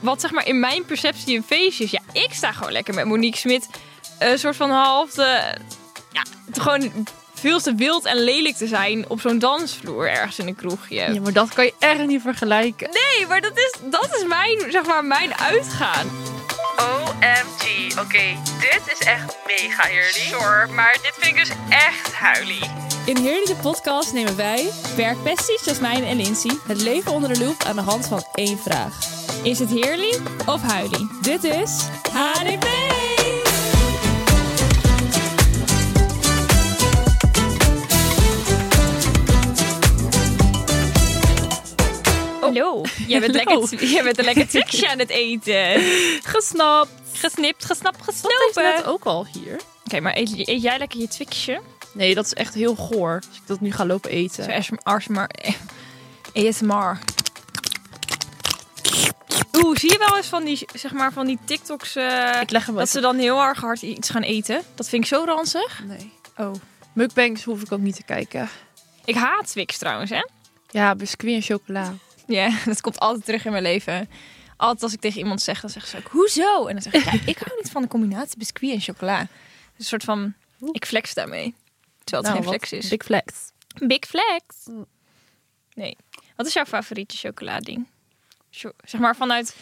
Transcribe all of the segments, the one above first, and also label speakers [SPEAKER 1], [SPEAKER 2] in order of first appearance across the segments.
[SPEAKER 1] wat zeg maar in mijn perceptie een feestje is. Ja, ik sta gewoon lekker met Monique Smit. Een soort van half de, ja, gewoon veel te wild en lelijk te zijn op zo'n dansvloer ergens in een kroegje.
[SPEAKER 2] Ja, maar dat kan je echt niet vergelijken.
[SPEAKER 1] Nee, maar dat is, dat is mijn, zeg maar, mijn uitgaan.
[SPEAKER 3] OMG. Oké, dit is echt mega eerlijk.
[SPEAKER 1] Sorry, maar dit vind ik dus echt huilie.
[SPEAKER 4] In Heerlijke Podcast nemen wij, werkpesties Jasmijn en Lindsay, het leven onder de loep aan de hand van één vraag.
[SPEAKER 1] Is het heerlijk of huilie?
[SPEAKER 4] Dit is HDP! Oh.
[SPEAKER 1] Hallo. Jij bent,
[SPEAKER 2] Hallo.
[SPEAKER 1] lekker, jij bent een lekker twixje aan het eten.
[SPEAKER 2] Gesnapt.
[SPEAKER 1] Gesnipt, gesnapt,
[SPEAKER 2] Dat is
[SPEAKER 1] gesnopen.
[SPEAKER 2] net
[SPEAKER 1] Oké,
[SPEAKER 2] ook al hier.
[SPEAKER 1] maar eet, eet jij lekker je twixje?
[SPEAKER 2] Nee, dat is echt heel goor. Als ik dat nu ga lopen
[SPEAKER 1] Zo
[SPEAKER 2] eten.
[SPEAKER 1] ASMR. ASMR. ASMR. Oeh, zie je wel eens van die, zeg maar, van die TikToks eh,
[SPEAKER 2] Ik leg hem wel
[SPEAKER 1] dat ze dan heel erg hard iets gaan eten? Dat vind ik zo ranzig.
[SPEAKER 2] Nee.
[SPEAKER 1] Oh.
[SPEAKER 2] Mukbangs hoef ik ook niet te kijken.
[SPEAKER 1] Ik haat Twix trouwens, hè?
[SPEAKER 2] Ja, biscuit en chocola.
[SPEAKER 1] Ja, dat komt altijd terug in mijn leven. Altijd als ik tegen iemand zeg, dan zeggen ze ook, hoezo? En dan zeg ik, ja, ik hou niet van de combinatie biscuit en chocola. Een soort van, ik flex daarmee. Terwijl het geen
[SPEAKER 2] Nou, wat
[SPEAKER 1] flex is.
[SPEAKER 2] Big flex.
[SPEAKER 1] Big flex. Nee. Wat is jouw favoriete chocolading? Cho- Zeg maar vanuit...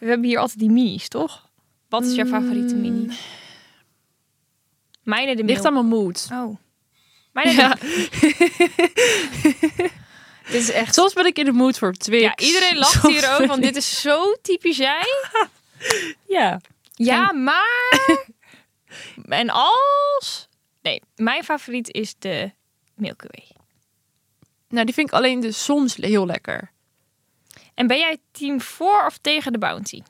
[SPEAKER 1] We hebben hier altijd die minis, toch? Wat is jouw favoriete mini? Mijne de
[SPEAKER 2] Ligt aan mijn mood.
[SPEAKER 1] mil- Oh. Mijne
[SPEAKER 2] Ja.
[SPEAKER 1] de... Dit is echt...
[SPEAKER 2] Soms ben ik in de mood voor Twix.
[SPEAKER 1] Ja, iedereen lacht
[SPEAKER 2] Soms
[SPEAKER 1] hier ook,
[SPEAKER 2] ben
[SPEAKER 1] want
[SPEAKER 2] ik-
[SPEAKER 1] dit is zo typisch jij.
[SPEAKER 2] Ja.
[SPEAKER 1] Ja, maar... en als... Nee, mijn favoriet is de Milky Way.
[SPEAKER 2] Nou, die vind ik alleen dus soms heel lekker.
[SPEAKER 1] En ben jij team voor of tegen de Bounty?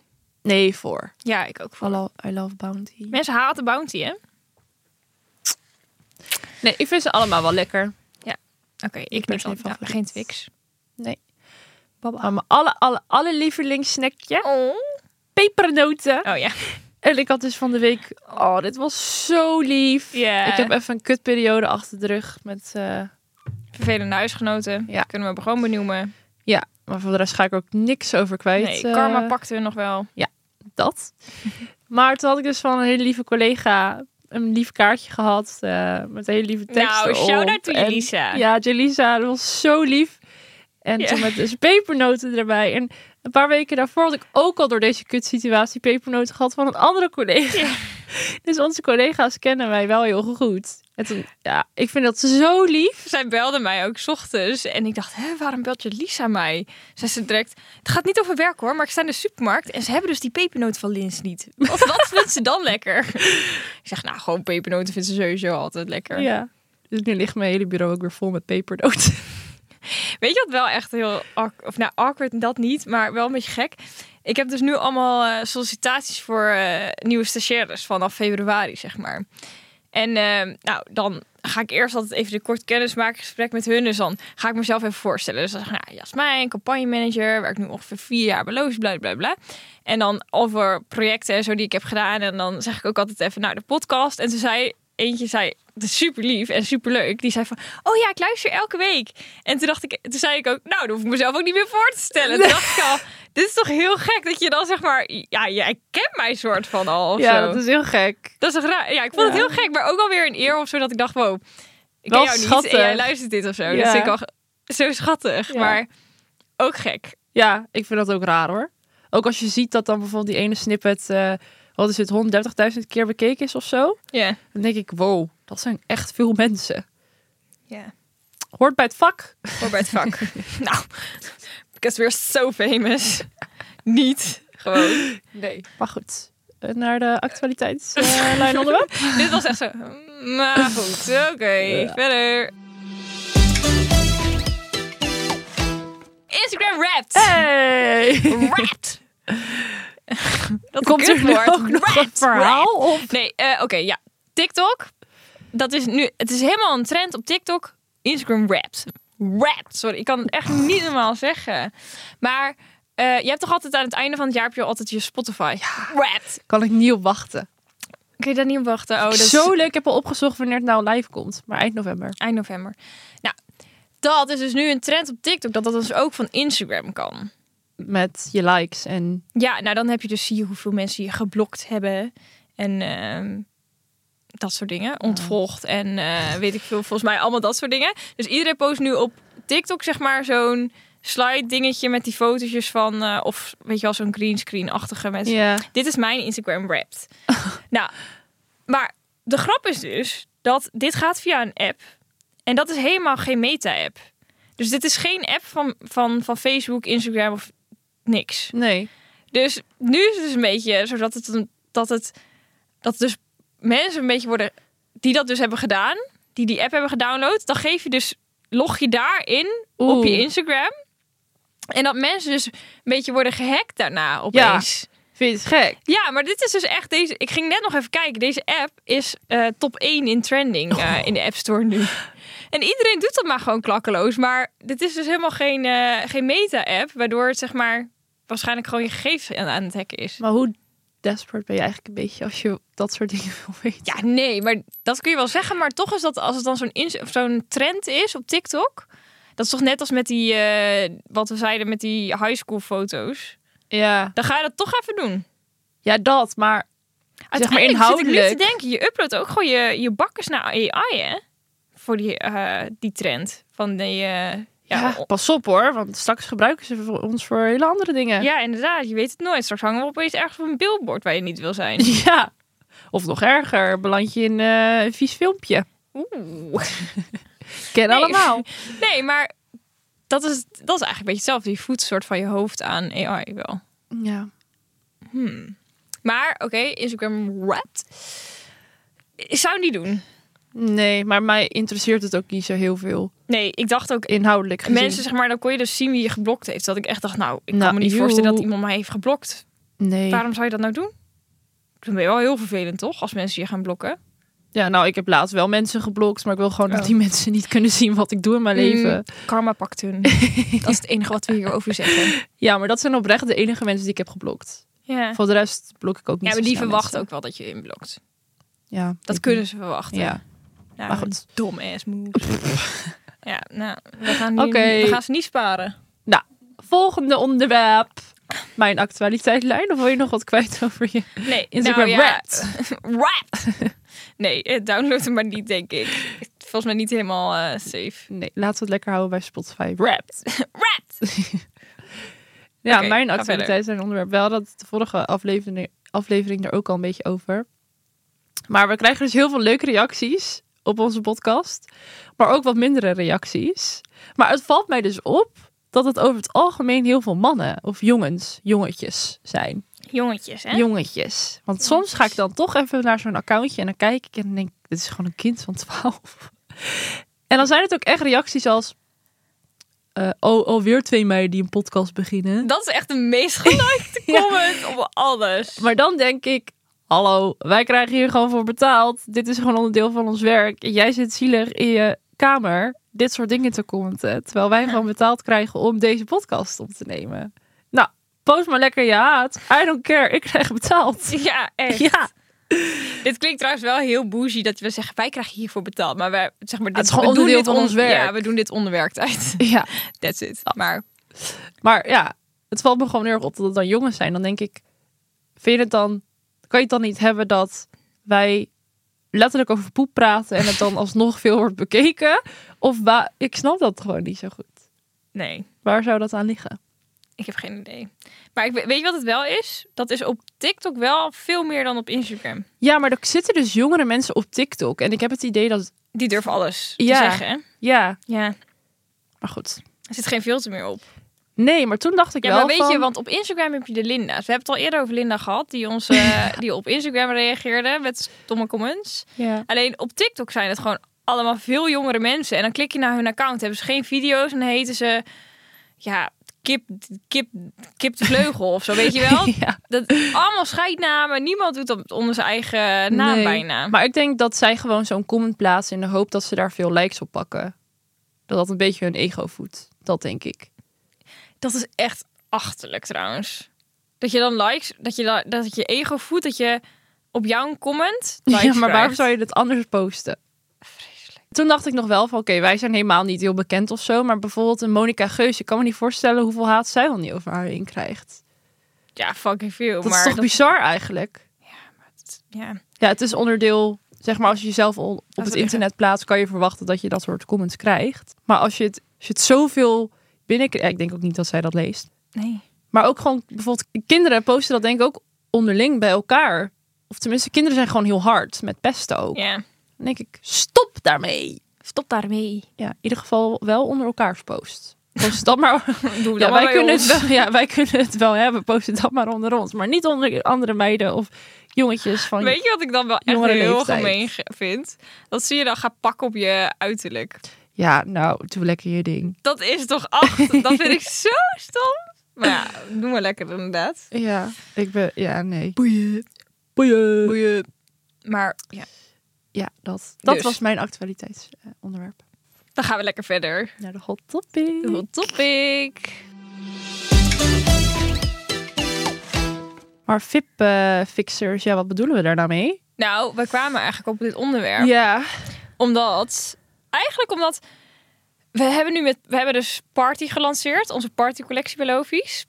[SPEAKER 2] Nee, voor.
[SPEAKER 1] Ja, ik ook
[SPEAKER 2] I love, I love Bounty.
[SPEAKER 1] Mensen haten Bounty, hè? Oké,
[SPEAKER 2] Nee, ik vind ze allemaal wel lekker.
[SPEAKER 1] ik
[SPEAKER 2] ben
[SPEAKER 1] niet
[SPEAKER 2] geen
[SPEAKER 1] altijd- nou,
[SPEAKER 2] favoriet.
[SPEAKER 1] geen Twix.
[SPEAKER 2] Nee.
[SPEAKER 1] Baba.
[SPEAKER 2] Maar mijn alle, alle, alle lievelingssnackje.
[SPEAKER 1] Oh.
[SPEAKER 2] Pepernoten.
[SPEAKER 1] Oh ja.
[SPEAKER 2] En ik had dus van de week... Oh, dit was zo lief.
[SPEAKER 1] Ja.
[SPEAKER 2] Ik heb even een kutperiode achter de rug met... eh,
[SPEAKER 1] Vervelende huisgenoten.
[SPEAKER 2] Ja.
[SPEAKER 1] Kunnen we gewoon benoemen.
[SPEAKER 2] ja, maar voor de rest ga ik ook niks over kwijt.
[SPEAKER 1] Nee,
[SPEAKER 2] eh,
[SPEAKER 1] karma pakte hun nog wel.
[SPEAKER 2] dat. Maar toen had ik dus van een hele lieve collega een lief kaartje gehad eh, met een hele lieve tekst
[SPEAKER 1] Nou,
[SPEAKER 2] erop.
[SPEAKER 1] shout-out to
[SPEAKER 2] En-
[SPEAKER 1] Jelisa.
[SPEAKER 2] Ja, Jelisa, dat was zo lief. En
[SPEAKER 1] Ja.
[SPEAKER 2] toen met dus pepernoten erbij. En een paar weken daarvoor had ik ook al door deze kutsituatie pepernoten gehad van een andere collega.
[SPEAKER 1] Ja.
[SPEAKER 2] Dus onze collega's kennen mij wel heel goed. En toen, ja, ik vind dat zo lief.
[SPEAKER 1] Zij belde mij ook 's ochtends. En ik dacht, Hè, waarom belt je Lisa mij? Zei ze direct, het gaat niet over werk hoor, maar ik sta in de supermarkt. En ze hebben dus die pepernoot van Lins niet. Wat, wat vindt ze dan lekker? ik zeg, nou, gewoon pepernoten vindt ze sowieso altijd lekker.
[SPEAKER 2] Ja. Dus nu ligt mijn hele bureau ook weer vol met pepernoten.
[SPEAKER 1] Weet je wat wel echt heel awk- of nou awkward dat niet, maar wel een beetje gek. Ik heb dus nu allemaal eh, sollicitaties voor eh, nieuwe stagiaires vanaf februari zeg maar. En eh, nou dan ga ik eerst altijd even een kort kennismakingsgesprek met hun. Dus dan ga ik mezelf even voorstellen. Dus dan zeg ik, nou, Jasmijn, campagnemanager, werk nu ongeveer vier jaar bij Loos, bla bla bla. En dan over projecten en zo die ik heb gedaan. En dan zeg ik ook altijd even naar de podcast. En toen zei eentje, zei, dat is super lief en super leuk. Die zei van, oh ja, ik luister elke week. En toen dacht ik, toen zei ik ook, nou, dan hoef ik mezelf ook niet meer voor te stellen. Toen dacht ik al, dit is toch heel gek dat je dan zeg maar, ja, jij kent mij soort van al. Of
[SPEAKER 2] ja,
[SPEAKER 1] zo.
[SPEAKER 2] dat is heel gek.
[SPEAKER 1] Dat is toch raar? Ja, ik vond het
[SPEAKER 2] Ja.
[SPEAKER 1] heel gek, maar ook alweer een eer of zo dat ik dacht, wow, ik
[SPEAKER 2] Wel
[SPEAKER 1] ken jou
[SPEAKER 2] schattig.
[SPEAKER 1] niet en jij luistert dit of zo.
[SPEAKER 2] Ja.
[SPEAKER 1] Dat vind ik al ge- zo schattig,
[SPEAKER 2] Ja.
[SPEAKER 1] maar ook gek.
[SPEAKER 2] Ja, ik vind dat ook raar hoor. Ook als je ziet dat dan bijvoorbeeld die ene snippet, eh, wat is het, 130.000 keer bekeken is of zo.
[SPEAKER 1] Ja.
[SPEAKER 2] Dan denk ik, wow, dat zijn echt veel mensen.
[SPEAKER 1] Ja.
[SPEAKER 2] Hoort bij het vak.
[SPEAKER 1] Voor bij het vak. nou, because we're so famous. niet. Gewoon.
[SPEAKER 2] Nee. Maar goed, eh, naar de actualiteitslijn onderwerp.
[SPEAKER 1] Dit was echt zo. Maar goed, oké. Verder. Instagram Wrapped.
[SPEAKER 2] Hey!
[SPEAKER 1] Wrapped. Dat
[SPEAKER 2] Komt er nu
[SPEAKER 1] kutwoord.
[SPEAKER 2] ook nog een
[SPEAKER 1] Wrapped,
[SPEAKER 2] verhaal op?
[SPEAKER 1] Nee, eh, oké, ja. TikTok. Dat is nu, het is helemaal een trend op TikTok. Instagram Wrapped. Wrapped. Sorry, ik kan het echt niet normaal zeggen. Maar eh, je hebt toch altijd aan het einde van het jaar heb je altijd je Spotify. Wrapped.
[SPEAKER 2] Kan ik niet op wachten.
[SPEAKER 1] Kun je daar niet op wachten? Oh, dat is
[SPEAKER 2] Zo leuk, ik heb al opgezocht wanneer het nou live komt. Maar eind november.
[SPEAKER 1] eind november. Nou, dat is dus nu een trend op TikTok. Dat dat dus ook van Instagram kan.
[SPEAKER 2] met je likes en
[SPEAKER 1] Ja, nou dan heb je dus zie je hoeveel mensen je geblokt hebben en ehm, dat soort dingen. Ontvolgd en eh, weet ik veel, volgens mij allemaal dat soort dingen. Dus iedereen post nu op TikTok zeg maar zo'n slide dingetje met die fotootjes van eh, of weet je wel zo'n greenscreen-achtige met
[SPEAKER 2] ja.
[SPEAKER 1] dit is mijn Instagram Wrapped. nou, maar de grap is dus dat dit gaat via een app. En dat is helemaal geen meta-app. Dus dit is geen app van, van, van Facebook, Instagram of niks.
[SPEAKER 2] Nee.
[SPEAKER 1] Dus nu is het dus een beetje zodat het, een- dat het, dat dus mensen een beetje worden, die dat dus hebben gedaan, die die app hebben gedownload, dan geef je dus, log je daarin op
[SPEAKER 2] Oeh.
[SPEAKER 1] je Instagram. En dat mensen dus een beetje worden gehackt daarna opeens.
[SPEAKER 2] Vind je het gek?
[SPEAKER 1] Ja, maar dit is dus echt deze. Ik ging net nog even kijken. Deze app is eh, top 1 in trending eh, in de App Store nu. En iedereen doet dat maar gewoon klakkeloos. Maar dit is dus helemaal geen, eh, geen meta-app, waardoor het zeg maar waarschijnlijk gewoon je gegevens aan, aan het hacken is.
[SPEAKER 2] Maar hoe desperate ben je eigenlijk een beetje als je dat soort dingen wil weten?
[SPEAKER 1] Ja, nee, maar dat kun je wel zeggen. Maar toch is dat als het dan zo'n ins- of zo'n trend is op TikTok. Dat is toch net als met die, eh, wat we zeiden, met die high school foto's.
[SPEAKER 2] Ja,
[SPEAKER 1] Dan ga je dat toch even doen.
[SPEAKER 2] ja dat, maar
[SPEAKER 1] Uiteindelijk
[SPEAKER 2] inhoudelijk.
[SPEAKER 1] zit ik nu te denken, je uploadt ook gewoon je, je bakkers naar AI, hè? Voor die, eh, die trend van die... eh, ja,
[SPEAKER 2] ja,
[SPEAKER 1] ja.
[SPEAKER 2] pas op hoor, want straks gebruiken ze voor ons voor hele andere dingen.
[SPEAKER 1] inderdaad. Je weet het nooit. Straks hangen we opeens ergens op een billboard waar je niet wil zijn.
[SPEAKER 2] Ja. Of nog erger, beland je in eh, een vies filmpje.
[SPEAKER 1] Oeh.
[SPEAKER 2] Ken allemaal.
[SPEAKER 1] Nee, maar dat is, dat is eigenlijk een beetje hetzelfde. Je voedt een soort van je hoofd aan AI wel. Hmm.
[SPEAKER 2] Ja.
[SPEAKER 1] Maar, oké, Instagram Wrapped. Ik zou het niet doen.
[SPEAKER 2] Nee, maar mij interesseert het ook niet zo heel veel.
[SPEAKER 1] Nee, ik dacht ook...
[SPEAKER 2] Inhoudelijk gezien.
[SPEAKER 1] Mensen, zeg maar, dan kon je dus zien wie je geblokt heeft. Dat ik echt dacht, nou, ik
[SPEAKER 2] Nou,
[SPEAKER 1] kan me niet
[SPEAKER 2] joe.
[SPEAKER 1] voorstellen dat iemand mij heeft geblokt.
[SPEAKER 2] Nee.
[SPEAKER 1] Waarom zou je dat nou doen? Dan ben je wel heel vervelend, toch? Als mensen je gaan blokken.
[SPEAKER 2] Ja, nou, ik heb laatst wel mensen geblokt, maar ik wil gewoon
[SPEAKER 1] Oh. Mm.
[SPEAKER 2] dat die mensen niet kunnen zien wat ik doe in mijn leven.
[SPEAKER 1] Karma pakt hun. dat is het enige wat we hierover zeggen.
[SPEAKER 2] Ja, maar dat zijn oprecht de enige mensen die ik heb geblokt.
[SPEAKER 1] Ja.
[SPEAKER 2] Voor de rest blok ik ook niet.
[SPEAKER 1] Ja, maar
[SPEAKER 2] zo
[SPEAKER 1] die
[SPEAKER 2] snel
[SPEAKER 1] verwachten
[SPEAKER 2] mensen.
[SPEAKER 1] ook wel dat je inblokt.
[SPEAKER 2] Ja,
[SPEAKER 1] Dat
[SPEAKER 2] ik-
[SPEAKER 1] kunnen ze verwachten.
[SPEAKER 2] Ja.
[SPEAKER 1] Nou,
[SPEAKER 2] maar goed.
[SPEAKER 1] Dom ass moves. ja, nou, we gaan, nu,
[SPEAKER 2] Oké.
[SPEAKER 1] we gaan ze niet sparen.
[SPEAKER 2] Volgende onderwerp. Mijn actualiteitlijn. Of wil je nog wat kwijt over je
[SPEAKER 1] Nee,
[SPEAKER 2] Instagram
[SPEAKER 1] nou, ja.
[SPEAKER 2] Wrapped?
[SPEAKER 1] Wrapped. Nee, eh, download hem maar niet, denk ik. Volgens mij niet helemaal eh, safe.
[SPEAKER 2] Nee, laten we het lekker houden bij Spotify. Wrapped.
[SPEAKER 1] Wrapped!
[SPEAKER 2] Ja,
[SPEAKER 1] Oké,
[SPEAKER 2] mijn
[SPEAKER 1] ga
[SPEAKER 2] actualiteit zijn onderwerp. Wel dat de vorige aflevering, aflevering er ook al een beetje over. Maar we krijgen dus heel veel leuke reacties op onze podcast. Maar ook wat mindere reacties. Maar het valt mij dus op dat het over het algemeen heel veel mannen of jongens, jongetjes zijn.
[SPEAKER 1] Jongetjes, hè?
[SPEAKER 2] Jongetjes. Want soms ga ik dan toch even naar zo'n accountje en dan kijk ik en dan denk ik, dit is gewoon een kind van 12. En dan zijn het ook echt reacties als, eh, oh, alweer twee meiden die een podcast beginnen.
[SPEAKER 1] Dat is echt de meest gelikte
[SPEAKER 2] Ja.
[SPEAKER 1] comment op alles.
[SPEAKER 2] Maar dan denk ik, hallo, wij krijgen hier gewoon voor betaald. Dit is gewoon onderdeel van ons werk. En jij zit zielig in je kamer dit soort dingen te commenten. Terwijl wij gewoon betaald krijgen om deze podcast op te nemen. Nou, post maar lekker je haat. I don't care, ik krijg betaald.
[SPEAKER 1] Ja, echt.
[SPEAKER 2] Ja,
[SPEAKER 1] Dit klinkt trouwens wel heel bougie dat we zeggen wij krijgen hiervoor betaald, maar wij zeg maar dit,
[SPEAKER 2] het is gewoon
[SPEAKER 1] we doen
[SPEAKER 2] onderdeel
[SPEAKER 1] dit
[SPEAKER 2] van
[SPEAKER 1] on-
[SPEAKER 2] ons werk.
[SPEAKER 1] Ja, we doen dit onderwerktijd.
[SPEAKER 2] ja.
[SPEAKER 1] That's it. Maar
[SPEAKER 2] Maar ja, het valt me gewoon heel erg op dat het dan jongens zijn. Dan denk ik, vind je het dan, kan je het dan niet hebben dat wij letterlijk over poep praten en het dan alsnog veel wordt bekeken? Of wa- ik snap dat gewoon niet zo goed.
[SPEAKER 1] nee,
[SPEAKER 2] Waar zou dat aan liggen?
[SPEAKER 1] ik heb geen idee. Maar ik, we- weet je wat het wel is? Dat is op TikTok wel veel meer dan op Instagram.
[SPEAKER 2] Ja, maar er zitten dus jongere mensen op TikTok. En ik heb het idee dat,
[SPEAKER 1] Die durven alles
[SPEAKER 2] Ja.
[SPEAKER 1] te zeggen. hè?
[SPEAKER 2] ja,
[SPEAKER 1] Ja,
[SPEAKER 2] maar goed.
[SPEAKER 1] er zit geen filter meer op.
[SPEAKER 2] Nee, maar toen dacht ik
[SPEAKER 1] Ja,
[SPEAKER 2] wel
[SPEAKER 1] maar weet
[SPEAKER 2] van-
[SPEAKER 1] je, want op Instagram heb je de Linda's. We hebben het al eerder over Linda gehad, die ons eh, die op Instagram reageerde met stomme comments.
[SPEAKER 2] Ja.
[SPEAKER 1] Alleen op TikTok zijn het gewoon allemaal veel jongere mensen. En dan klik je naar hun account, hebben ze geen video's en dan heten ze ja, kip, kip, kip de vleugel of zo, weet je wel?
[SPEAKER 2] ja.
[SPEAKER 1] Dat, allemaal scheidnamen, niemand doet dat onder zijn eigen naam
[SPEAKER 2] Nee.
[SPEAKER 1] bijna.
[SPEAKER 2] Maar ik denk dat zij gewoon zo'n comment plaatsen in de hoop dat ze daar veel likes op pakken. Dat dat een beetje hun ego voedt. Dat denk ik.
[SPEAKER 1] Dat is echt achterlijk trouwens. Dat je dan likes, dat je, da- dat het je ego voedt, dat je op jouw comment likes
[SPEAKER 2] ja, maar waarom
[SPEAKER 1] krijgt.
[SPEAKER 2] zou je dit anders posten?
[SPEAKER 1] Vreselijk.
[SPEAKER 2] toen dacht ik nog wel van, oké, wij zijn helemaal niet heel bekend of zo. Maar bijvoorbeeld een Monica Geus, ik kan me niet voorstellen hoeveel haat zij wel niet over haar heen krijgt.
[SPEAKER 1] Ja, fucking veel.
[SPEAKER 2] Dat
[SPEAKER 1] maar
[SPEAKER 2] is toch
[SPEAKER 1] dat-
[SPEAKER 2] bizar eigenlijk?
[SPEAKER 1] ja.
[SPEAKER 2] Ja, het is onderdeel, zeg maar, als je jezelf al op
[SPEAKER 1] Laten
[SPEAKER 2] het
[SPEAKER 1] we
[SPEAKER 2] internet plaatst, kan je verwachten dat je dat soort comments krijgt. Maar als je het, als je het zoveel binnenkrijgt, ik denk ook niet dat zij dat leest.
[SPEAKER 1] Nee.
[SPEAKER 2] Maar ook gewoon bijvoorbeeld kinderen posten dat denk ik ook onderling bij elkaar. Of tenminste, kinderen zijn gewoon heel hard met pesten ook.
[SPEAKER 1] Ja.
[SPEAKER 2] Dan denk ik, stop daarmee.
[SPEAKER 1] Stop daarmee.
[SPEAKER 2] Ja, in ieder geval wel onder elkaars post. Post dat maar.
[SPEAKER 1] Doe dat
[SPEAKER 2] ja,
[SPEAKER 1] maar
[SPEAKER 2] wij
[SPEAKER 1] bij
[SPEAKER 2] kunnen
[SPEAKER 1] ons.
[SPEAKER 2] het wel, ja, wij kunnen het wel hebben. Post dat maar onder ons. Maar niet onder andere meiden of jongetjes van.
[SPEAKER 1] Weet je wat ik dan wel echt
[SPEAKER 2] Oh, Jongere
[SPEAKER 1] heel
[SPEAKER 2] leeftijd.
[SPEAKER 1] gemeen ge- vind? Dat ze je dan gaan pakken op je uiterlijk.
[SPEAKER 2] Ja, nou, doe lekker je ding.
[SPEAKER 1] Dat is toch acht? dat vind ik zo stom. Maar ja, doe maar lekker inderdaad.
[SPEAKER 2] Ja, ik ben. Ja, nee. Boeien. Boeien.
[SPEAKER 1] Maar ja,
[SPEAKER 2] Ja, dat, dat
[SPEAKER 1] Dus.
[SPEAKER 2] was mijn actualiteitsonderwerp.
[SPEAKER 1] dan gaan we lekker verder.
[SPEAKER 2] Naar de hot topic.
[SPEAKER 1] Hot topic.
[SPEAKER 2] Maar VIP-fixers, ja, wat bedoelen we daar nou mee?
[SPEAKER 1] Nou, we kwamen eigenlijk op dit onderwerp.
[SPEAKER 2] Ja.
[SPEAKER 1] Omdat, eigenlijk omdat we hebben nu met, we hebben dus Party gelanceerd, onze Party collectie bij Lofies.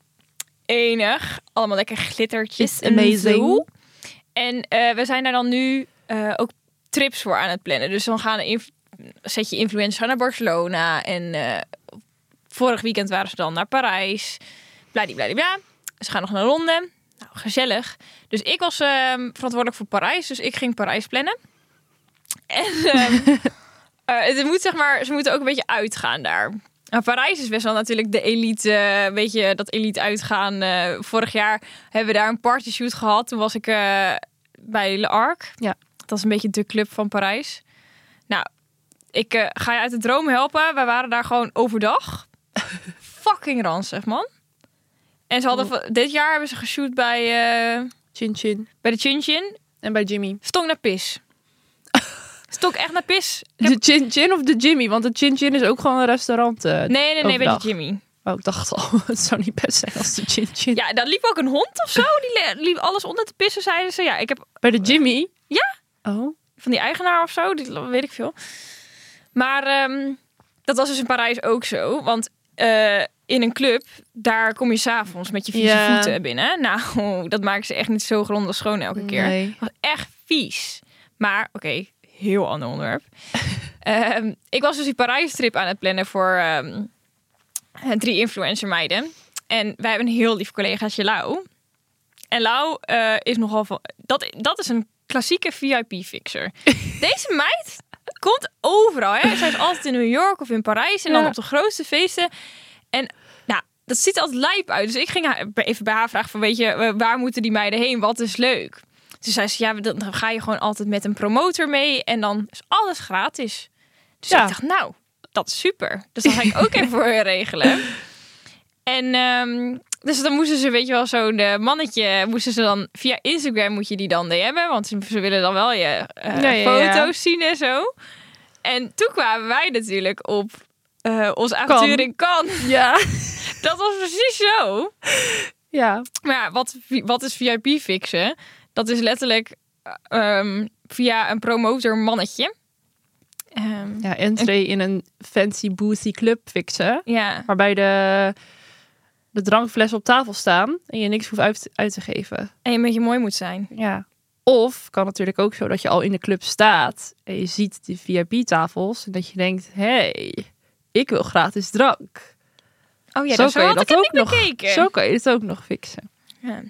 [SPEAKER 1] Enig, allemaal lekker glittertjes
[SPEAKER 2] It's
[SPEAKER 1] en
[SPEAKER 2] amazing.
[SPEAKER 1] zo. En eh, we zijn daar dan nu eh, ook trips voor aan het plannen. Dus dan gaan de inf- zet je influencers gaan naar Barcelona en eh, vorig weekend waren ze dan naar Parijs. Bladibladibla. Ze gaan nog naar Londen. Nou, gezellig. Dus ik was ehm, verantwoordelijk voor Parijs, dus ik ging Parijs plannen. En ehm, eh, het moet zeg maar, ze moeten ook een beetje uitgaan daar. Nou, Parijs is best wel natuurlijk de elite, eh, weet je, dat elite uitgaan. Eh, vorig jaar hebben we daar een partyshoot gehad. Toen was ik eh, bij Le Arc.
[SPEAKER 2] Ja.
[SPEAKER 1] Dat is een beetje de club van Parijs. Nou, ik eh, ga je uit de droom helpen. Wij waren daar gewoon overdag. Fucking ranzig, man. En ze hadden, van- dit jaar hebben ze geshoot bij, eh,
[SPEAKER 2] Chin Chin.
[SPEAKER 1] bij de Chin Chin.
[SPEAKER 2] En bij Jimmy.
[SPEAKER 1] Stonk naar pis. Stonk echt naar pis. Ik heb-
[SPEAKER 2] De Chin Chin of de Jimmy? Want de Chin Chin is ook gewoon een restaurant. eh.
[SPEAKER 1] Nee, nee, nee, bij de
[SPEAKER 2] Overdag.
[SPEAKER 1] Jimmy.
[SPEAKER 2] Oh, ik dacht al, het zou niet best zijn als de Chin Chin.
[SPEAKER 1] Ja, daar liep ook een hond of zo. Die le- liep alles onder te pissen, zeiden ze. Ja, ik heb
[SPEAKER 2] Bij de Jimmy?
[SPEAKER 1] Ja.
[SPEAKER 2] Oh.
[SPEAKER 1] van die eigenaar of zo, die, weet ik veel. Maar ehm, dat was dus in Parijs ook zo. Want eh, in een club, daar kom je s'avonds met je vieze
[SPEAKER 2] Ja.
[SPEAKER 1] voeten binnen. Nou, dat maken ze echt niet zo grondig schoon elke keer.
[SPEAKER 2] Nee.
[SPEAKER 1] was echt vies. Maar oké, heel ander onderwerp. Ehm, ik was dus die Parijs-trip aan het plannen voor ehm, drie influencer meiden. En wij hebben een heel lief collegaatje Lau. En Lau eh, is nogal van... Dat, dat is een klassieke VIP-fixer. Deze meid komt overal. Hè? Zij is altijd in New York of in Parijs. En dan
[SPEAKER 2] Ja.
[SPEAKER 1] op de grootste feesten. En nou, dat ziet er altijd lijp uit. Dus ik ging haar, even bij haar vragen van... Weet je, wa- waar moeten die meiden heen? Wat is leuk? Toen zei ze, ja, dan dan ga je gewoon altijd met een promotor mee. En dan is alles gratis. Dus
[SPEAKER 2] Ja.
[SPEAKER 1] ik dacht, nou, dat is super. Dus dat ga ik ook even voor je regelen. En ehm, dus dan moesten ze, weet je wel, zo'n eh, mannetje... Moesten ze dan, via Instagram moet je die dan DM'en. Want ze, ze willen dan wel je eh,
[SPEAKER 2] Ja, ja, ja.
[SPEAKER 1] foto's zien en zo. En toen kwamen wij natuurlijk op eh, ons avontuur in Cannes.
[SPEAKER 2] Ja.
[SPEAKER 1] Dat was precies zo.
[SPEAKER 2] Ja.
[SPEAKER 1] Maar ja, wat, wat is VIP fixen? Dat is letterlijk eh, ehm, via een promotor mannetje. Ehm,
[SPEAKER 2] Ja, entree in een fancy boozy club fixen.
[SPEAKER 1] ja.
[SPEAKER 2] Waarbij de, de drankflessen op tafel staan en je niks hoeft uit, uit te geven.
[SPEAKER 1] en je een beetje mooi moet zijn.
[SPEAKER 2] Ja. Of kan natuurlijk ook zo dat je al in de club staat en je ziet die VIP-tafels en dat je denkt, hey, ik wil gratis drank.
[SPEAKER 1] Oh ja,
[SPEAKER 2] Zo
[SPEAKER 1] zo,
[SPEAKER 2] kan
[SPEAKER 1] zo
[SPEAKER 2] je
[SPEAKER 1] had
[SPEAKER 2] dat
[SPEAKER 1] ik het
[SPEAKER 2] ook
[SPEAKER 1] niet
[SPEAKER 2] nog-
[SPEAKER 1] bekeken.
[SPEAKER 2] Zo kan je het ook nog fixen.
[SPEAKER 1] Ja.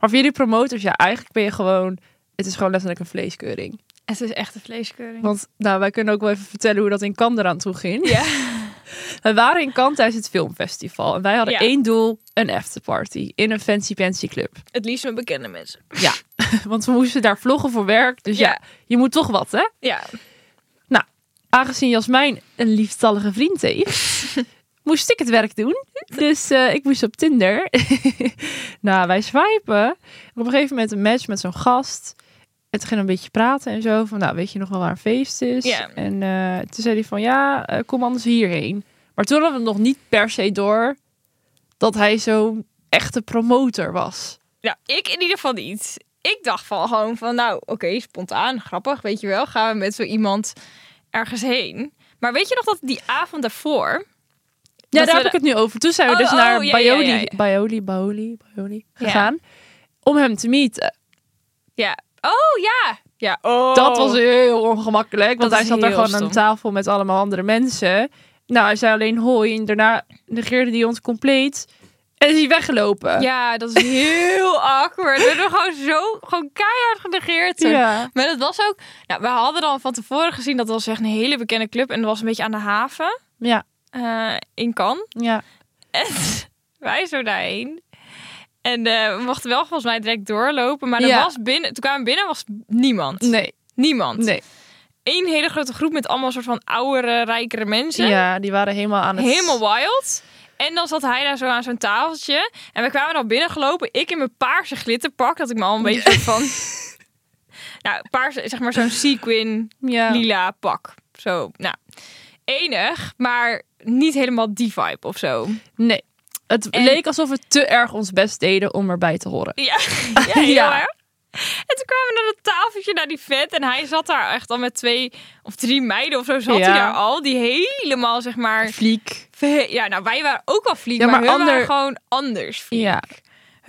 [SPEAKER 2] Maar via die promotors, ja, eigenlijk ben je gewoon, het is gewoon letterlijk een vleeskeuring.
[SPEAKER 1] Het is echt een vleeskeuring.
[SPEAKER 2] Want nou, wij kunnen ook wel even vertellen hoe dat in Cannes eraan toe ging.
[SPEAKER 1] Ja.
[SPEAKER 2] We waren in Cannes tijdens het filmfestival en wij hadden
[SPEAKER 1] Ja.
[SPEAKER 2] één doel, een afterparty in een fancy fancy club.
[SPEAKER 1] Het liefst met bekende mensen.
[SPEAKER 2] Ja, want we moesten daar vloggen voor werk, dus ja
[SPEAKER 1] Ja.
[SPEAKER 2] je moet toch wat, hè?
[SPEAKER 1] Ja.
[SPEAKER 2] aangezien Jasmijn een lieftallige vriend heeft, moest ik het werk doen. Dus eh, ik moest op Tinder. nou, wij swipen. Op een gegeven moment een match met zo'n gast. En toen ging een beetje praten en zo. Van, nou, weet je nog wel waar een feest is?
[SPEAKER 1] Ja.
[SPEAKER 2] En eh, toen zei hij van, ja, eh, kom anders hierheen. Maar toen hadden we het nog niet per se door dat hij zo'n echte promotor was.
[SPEAKER 1] Nou, ik in ieder geval niet. Ik dacht van gewoon van, nou, oké, spontaan, grappig, weet je wel. Gaan we met zo iemand ergens heen. Maar weet je nog dat die avond daarvoor...
[SPEAKER 2] Ja,
[SPEAKER 1] Dat we
[SPEAKER 2] daar heb ik het nu over. Toen zijn we
[SPEAKER 1] Oh,
[SPEAKER 2] dus
[SPEAKER 1] oh,
[SPEAKER 2] naar
[SPEAKER 1] ja, ja, ja,
[SPEAKER 2] Baioli,
[SPEAKER 1] ja.
[SPEAKER 2] Baioli, Baioli, Baioli
[SPEAKER 1] Ja.
[SPEAKER 2] gegaan. Om hem te meeten.
[SPEAKER 1] Ja. Oh, ja. Ja, oh.
[SPEAKER 2] Dat was heel ongemakkelijk. Want
[SPEAKER 1] Dat
[SPEAKER 2] hij
[SPEAKER 1] is
[SPEAKER 2] zat daar
[SPEAKER 1] heel
[SPEAKER 2] gewoon aan
[SPEAKER 1] stom.
[SPEAKER 2] tafel met allemaal andere mensen. Nou, hij zei alleen hoi. En daarna negeerde hij ons compleet. En is hij weggelopen.
[SPEAKER 1] Ja, dat is heel awkward. We hebben gewoon zo gewoon keihard genegeerd. Zo.
[SPEAKER 2] Ja.
[SPEAKER 1] Maar dat was ook... Nou, we hadden dan van tevoren gezien dat was echt een hele bekende club. En dat was een beetje aan de haven
[SPEAKER 2] Ja.
[SPEAKER 1] eh, in Cannes.
[SPEAKER 2] ja.
[SPEAKER 1] En wij zo daarheen. En eh, we mochten wel volgens mij direct doorlopen. Maar er
[SPEAKER 2] Ja.
[SPEAKER 1] was binnen, toen kwamen we binnen was niemand.
[SPEAKER 2] Nee.
[SPEAKER 1] Niemand.
[SPEAKER 2] Nee.
[SPEAKER 1] Eén hele grote groep met allemaal soort van oudere, rijkere mensen.
[SPEAKER 2] Ja, die waren helemaal aan het...
[SPEAKER 1] Helemaal wild. En dan zat hij daar zo aan zo'n tafeltje. En we kwamen dan binnengelopen. Ik in mijn paarse glitterpak. Dat ik me al een beetje soort van... Nou, paarse, zeg maar zo'n sequin
[SPEAKER 2] Ja.
[SPEAKER 1] lila pak. Zo, nou. Enig, maar niet helemaal die vibe of zo.
[SPEAKER 2] Nee. Het
[SPEAKER 1] En-
[SPEAKER 2] leek alsof we te erg ons best deden om erbij te horen.
[SPEAKER 1] Ja, ja, heel
[SPEAKER 2] Ja.
[SPEAKER 1] erg. En toen kwamen we naar dat tafeltje, naar die vet. En hij zat daar echt al met twee of drie meiden of zo. Zat
[SPEAKER 2] Ja.
[SPEAKER 1] hij daar al, die helemaal zeg maar...
[SPEAKER 2] Fliek.
[SPEAKER 1] Ve- Ja, nou, wij waren ook wel vlieg,
[SPEAKER 2] Ja,
[SPEAKER 1] maar,
[SPEAKER 2] maar
[SPEAKER 1] hun
[SPEAKER 2] ander-
[SPEAKER 1] waren gewoon anders vlieg.
[SPEAKER 2] Ja.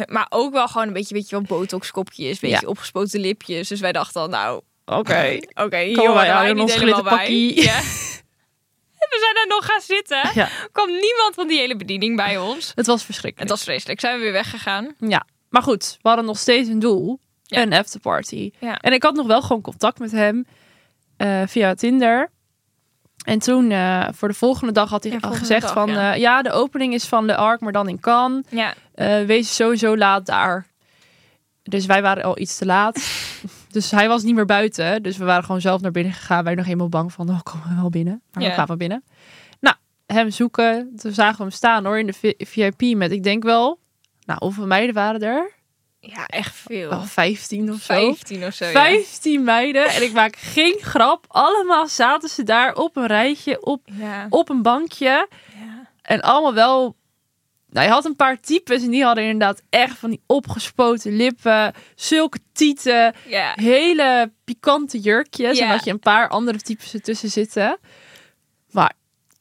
[SPEAKER 1] Maar ook wel gewoon een beetje, weet je wel, botoxkopjes, een beetje
[SPEAKER 2] Ja.
[SPEAKER 1] opgespoten lipjes. Dus wij dachten al, nou,
[SPEAKER 2] Oké.
[SPEAKER 1] oké, hier
[SPEAKER 2] Komen wij
[SPEAKER 1] waren
[SPEAKER 2] aan
[SPEAKER 1] wij
[SPEAKER 2] in
[SPEAKER 1] niet
[SPEAKER 2] ons
[SPEAKER 1] helemaal bij.
[SPEAKER 2] glitterpakkie.
[SPEAKER 1] Ja. En we zijn daar nog gaan zitten. Er
[SPEAKER 2] Ja.
[SPEAKER 1] kwam niemand van die hele bediening bij ons.
[SPEAKER 2] Het was
[SPEAKER 1] Het
[SPEAKER 2] verschrikkelijk.
[SPEAKER 1] was vreselijk. Zijn we weer weggegaan.
[SPEAKER 2] Ja, maar goed, we hadden nog steeds een doel.
[SPEAKER 1] Ja.
[SPEAKER 2] Een afterparty.
[SPEAKER 1] Ja.
[SPEAKER 2] En ik had nog wel gewoon contact met hem eh, via Tinder. En toen, eh, voor de volgende dag, had hij
[SPEAKER 1] Ja,
[SPEAKER 2] al
[SPEAKER 1] volgende dag,
[SPEAKER 2] gezegd van...
[SPEAKER 1] ja.
[SPEAKER 2] Ja. ja, de opening is van de Ark, maar dan in Cannes.
[SPEAKER 1] Ja,
[SPEAKER 2] Eh, wees sowieso laat daar. Dus wij waren al iets te laat. dus hij was niet meer buiten. Dus we waren gewoon zelf naar binnen gegaan. Wij waren nog helemaal bang van, oh, komen we wel binnen? Maar
[SPEAKER 1] Ja.
[SPEAKER 2] we gaan wel binnen. Nou, hem zoeken. Toen zagen we hem staan hoor, in de V- VIP met, ik denk wel... Nou, hoeveel meiden waren er?
[SPEAKER 1] Oh. ja echt veel.
[SPEAKER 2] Wel 15 of zo.
[SPEAKER 1] 15 of zo, ja.
[SPEAKER 2] 15 meiden. En ik maak geen grap. Allemaal zaten ze daar op een rijtje, op,
[SPEAKER 1] Ja.
[SPEAKER 2] op een bankje.
[SPEAKER 1] ja.
[SPEAKER 2] En allemaal wel. Nou, je had een paar types en die hadden inderdaad echt van die opgespoten lippen, zulke tieten,
[SPEAKER 1] Ja.
[SPEAKER 2] hele pikante jurkjes. En
[SPEAKER 1] Ja.
[SPEAKER 2] had je een paar andere types ertussen zitten. Maar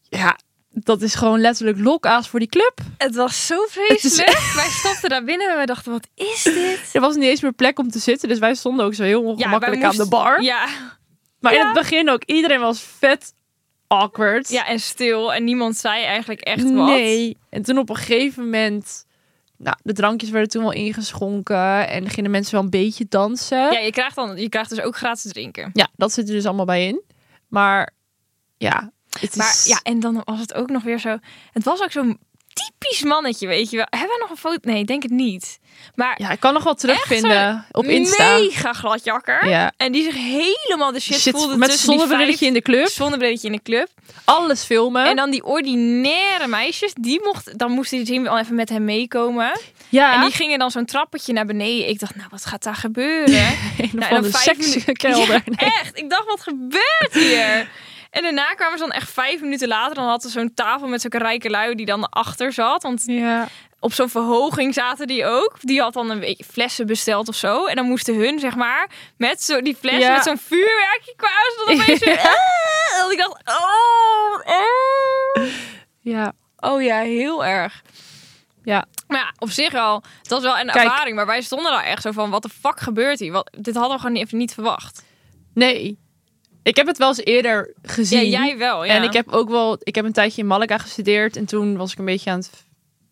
[SPEAKER 2] ja, dat is gewoon letterlijk lokaas voor die club.
[SPEAKER 1] Het was zo
[SPEAKER 2] is
[SPEAKER 1] vreselijk. Wij stapten daar binnen en wij dachten, wat is dit?
[SPEAKER 2] Er was niet eens meer plek om te zitten, dus wij stonden ook zo heel
[SPEAKER 1] wij
[SPEAKER 2] ongemakkelijk aan
[SPEAKER 1] moesten-
[SPEAKER 2] de bar.
[SPEAKER 1] Ja.
[SPEAKER 2] Maar in
[SPEAKER 1] Ja.
[SPEAKER 2] het begin ook, iedereen was vet awkward.
[SPEAKER 1] ja, en stil. En niemand zei eigenlijk echt wat.
[SPEAKER 2] Nee. En toen op een gegeven moment... Nou, de drankjes werden toen wel ingeschonken. En gingen mensen wel een beetje dansen.
[SPEAKER 1] Ja,
[SPEAKER 2] Ja,
[SPEAKER 1] je krijgt, dan, je krijgt dus ook gratis drinken.
[SPEAKER 2] dat zit er dus allemaal bij in. Maar ja, het is...
[SPEAKER 1] Maar ja, en dan was het ook nog weer zo... Het was ook zo'n typisch mannetje, weet je wel. Hebben we nog een foto? Nee, ik denk het niet. Maar
[SPEAKER 2] Ja, ik kan nog wel terugvinden op Insta.
[SPEAKER 1] mega gladjakker.
[SPEAKER 2] Ja.
[SPEAKER 1] En die zich helemaal de shit,
[SPEAKER 2] Shit,
[SPEAKER 1] voelde
[SPEAKER 2] met een
[SPEAKER 1] tussen die
[SPEAKER 2] zonnebrilletje
[SPEAKER 1] vijf-
[SPEAKER 2] in de club.
[SPEAKER 1] Zonnebrilletje in de club.
[SPEAKER 2] Alles filmen.
[SPEAKER 1] En dan die ordinaire meisjes, die mochten, dan moesten die zien al even met hem meekomen.
[SPEAKER 2] ja,
[SPEAKER 1] En die gingen dan zo'n trappetje naar beneden. Ik dacht, nou, wat gaat daar gebeuren?
[SPEAKER 2] een
[SPEAKER 1] Nou,
[SPEAKER 2] van de
[SPEAKER 1] dan vijf
[SPEAKER 2] sekskelder.
[SPEAKER 1] Ja, echt. Ik dacht, wat gebeurt hier? En daarna kwamen ze dan echt vijf minuten later. Dan hadden ze zo'n tafel met zulke rijke lui die dan achter zat. Want
[SPEAKER 2] Ja.
[SPEAKER 1] op zo'n verhoging zaten die ook. Die had dan een beetje flessen besteld of zo. En dan moesten hun, zeg maar, met zo die flessen,
[SPEAKER 2] Ja.
[SPEAKER 1] met zo'n vuurwerkje kwamen ze dan opeens weer.
[SPEAKER 2] Ja.
[SPEAKER 1] "Ah!" En ik dacht, oh, eh.
[SPEAKER 2] ja.
[SPEAKER 1] Oh ja, heel erg.
[SPEAKER 2] Ja.
[SPEAKER 1] Maar ja, op zich al, het was wel een
[SPEAKER 2] Kijk.
[SPEAKER 1] ervaring. Maar wij stonden daar echt zo van, wat de fuck gebeurt hier? Wat, dit hadden we gewoon even niet verwacht.
[SPEAKER 2] Nee. Ik heb het wel eens eerder gezien.
[SPEAKER 1] Ja, jij wel, ja.
[SPEAKER 2] En ik heb ook wel, ik heb een tijdje in Malaga gestudeerd en toen was ik een beetje aan het,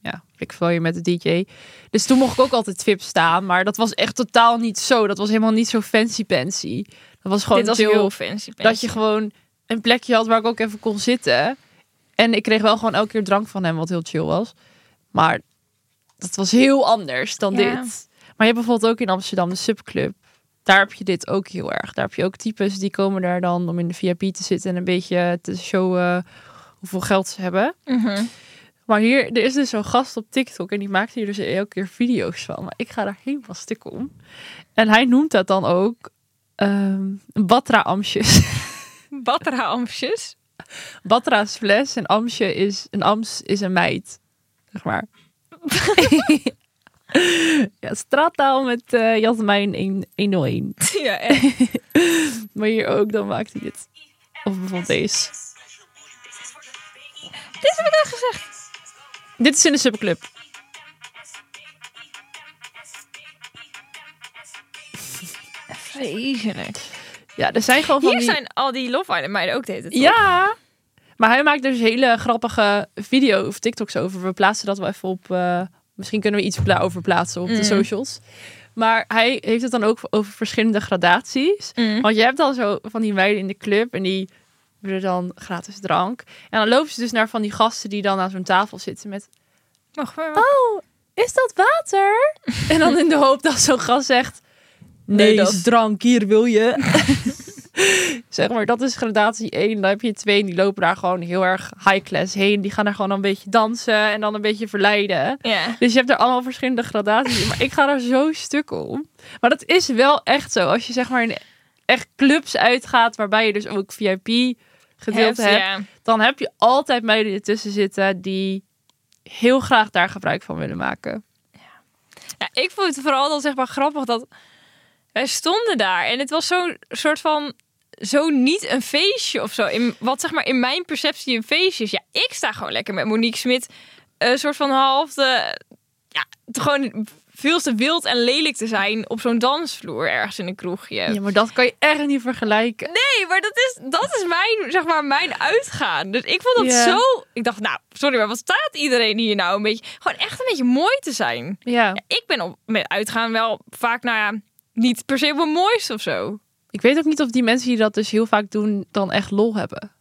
[SPEAKER 2] ja, ik je met de DJ. Dus toen mocht ik ook altijd VIP staan, maar dat was echt totaal niet zo. Dat was helemaal niet zo fancy pansy. Dat was gewoon
[SPEAKER 1] Dit was
[SPEAKER 2] chill,
[SPEAKER 1] heel fancy.
[SPEAKER 2] dat je gewoon een plekje had waar ik ook even kon zitten. En ik kreeg wel gewoon elke keer drank van hem, wat heel chill was. Maar dat was heel anders dan
[SPEAKER 1] Ja.
[SPEAKER 2] dit. Maar je hebt bijvoorbeeld ook in Amsterdam de subclub. Daar heb je dit ook heel erg. Daar heb je ook types die komen daar dan om in de VIP te zitten en een beetje te showen hoeveel geld ze hebben.
[SPEAKER 1] Mhm.
[SPEAKER 2] Maar hier, er is dus zo'n gast op TikTok en die maakt hier dus elke keer video's van. Maar ik ga daar helemaal stuk om. En hij noemt dat dan ook ehm Batra-amsjes.
[SPEAKER 1] Batterhamsjes.
[SPEAKER 2] Batra's fles en Amsje is een Ams is een meid, zeg maar. ja, straattaal met eh Jasmijn 101.
[SPEAKER 1] ja, echt.
[SPEAKER 2] Maar hier ook, dan maakt hij dit. Of bijvoorbeeld deze.
[SPEAKER 1] Dit heb ik al gezegd.
[SPEAKER 2] Dit is in de subclub.
[SPEAKER 1] Vreselijk.
[SPEAKER 2] Ja, er zijn gewoon van
[SPEAKER 1] Hier
[SPEAKER 2] die...
[SPEAKER 1] zijn al die Love Island meiden ook deden.
[SPEAKER 2] Ja. Maar hij maakt dus hele grappige video of TikToks over. We plaatsen dat wel even op. eh, misschien kunnen we iets pla- over plaatsen op de
[SPEAKER 1] Mm.
[SPEAKER 2] socials. Maar hij heeft het dan ook over verschillende gradaties.
[SPEAKER 1] Mm.
[SPEAKER 2] Want je hebt dan zo van die meiden in de club en die willen dan gratis drank. En dan lopen ze dus naar van die gasten die dan aan zo'n tafel zitten met...
[SPEAKER 1] Mag
[SPEAKER 2] Oh, is dat water? en dan in de hoop dat zo'n gast zegt... Nee,
[SPEAKER 1] Nee,
[SPEAKER 2] dat
[SPEAKER 1] dat
[SPEAKER 2] is
[SPEAKER 1] is-
[SPEAKER 2] drank, hier wil je. zeg maar, dat is gradatie 1. Dan heb je 2 en die lopen daar gewoon heel erg high class heen. Die gaan daar gewoon een beetje dansen en dan een beetje verleiden.
[SPEAKER 1] Ja.
[SPEAKER 2] Dus je hebt er allemaal verschillende gradaties in. Maar ik ga er zo stuk om. Maar dat is wel echt zo. Als je zeg maar in echt clubs uitgaat, waarbij je dus ook VIP gedeelte hebt
[SPEAKER 1] Ja.
[SPEAKER 2] dan heb je altijd meiden ertussen zitten die heel graag daar gebruik van willen maken.
[SPEAKER 1] Ja, ik vond het vooral dan zeg maar grappig dat wij stonden daar en het was zo'n soort van zo niet een feestje of zo. In, wat zeg maar in mijn perceptie een feestje is. Ja, ik sta gewoon lekker met Monique Smit een soort van half de ja, te- gewoon veel te wild en lelijk te zijn op zo'n dansvloer ergens in een kroegje.
[SPEAKER 2] Ja, maar dat kan je echt niet vergelijken.
[SPEAKER 1] Nee, maar dat is, dat is mijn, zeg maar, mijn uitgaan. Dus ik vond dat
[SPEAKER 2] Ja.
[SPEAKER 1] zo... Ik dacht, nou, sorry, maar wat staat iedereen hier nou een beetje... Gewoon echt een beetje mooi te zijn.
[SPEAKER 2] Ja.
[SPEAKER 1] Ik ben op, met uitgaan wel vaak, nou ja, niet per se op mijn mooiste of zo.
[SPEAKER 2] Ik weet ook niet of die mensen die dat dus heel vaak doen, dan echt lol hebben.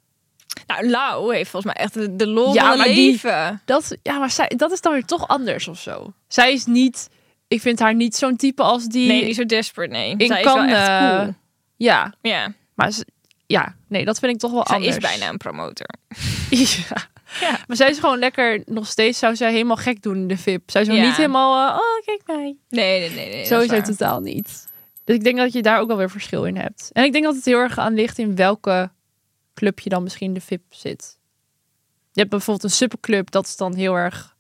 [SPEAKER 1] Nou, Lau heeft volgens mij echt de, de lol
[SPEAKER 2] Ja,
[SPEAKER 1] van
[SPEAKER 2] maar
[SPEAKER 1] haar
[SPEAKER 2] die-
[SPEAKER 1] leven.
[SPEAKER 2] Dat, ja, maar zij, dat is dan weer toch anders of zo. Zij is niet, ik vind haar niet zo'n type als die.
[SPEAKER 1] Nee, niet zo desperate, nee.
[SPEAKER 2] Ik
[SPEAKER 1] Zij
[SPEAKER 2] kan,
[SPEAKER 1] is wel echt
[SPEAKER 2] eh,
[SPEAKER 1] cool.
[SPEAKER 2] Ja,
[SPEAKER 1] Ja,
[SPEAKER 2] maar ze- ja, nee, dat vind ik toch wel
[SPEAKER 1] zij
[SPEAKER 2] anders.
[SPEAKER 1] is bijna een promotor.
[SPEAKER 2] Ja.
[SPEAKER 1] Ja.
[SPEAKER 2] Maar zij is gewoon lekker, nog steeds zou zij helemaal gek doen in de VIP. Zij zou
[SPEAKER 1] Ja.
[SPEAKER 2] niet helemaal, eh, oh kijk mij.
[SPEAKER 1] Nee, nee, nee. nee dat
[SPEAKER 2] Sowieso
[SPEAKER 1] waar.
[SPEAKER 2] totaal niet. Dus ik denk dat je daar ook alweer verschil in hebt. En ik denk dat het heel erg aan ligt in welke club je dan misschien de VIP zit. Je hebt bijvoorbeeld een superclub, dat is dan heel erg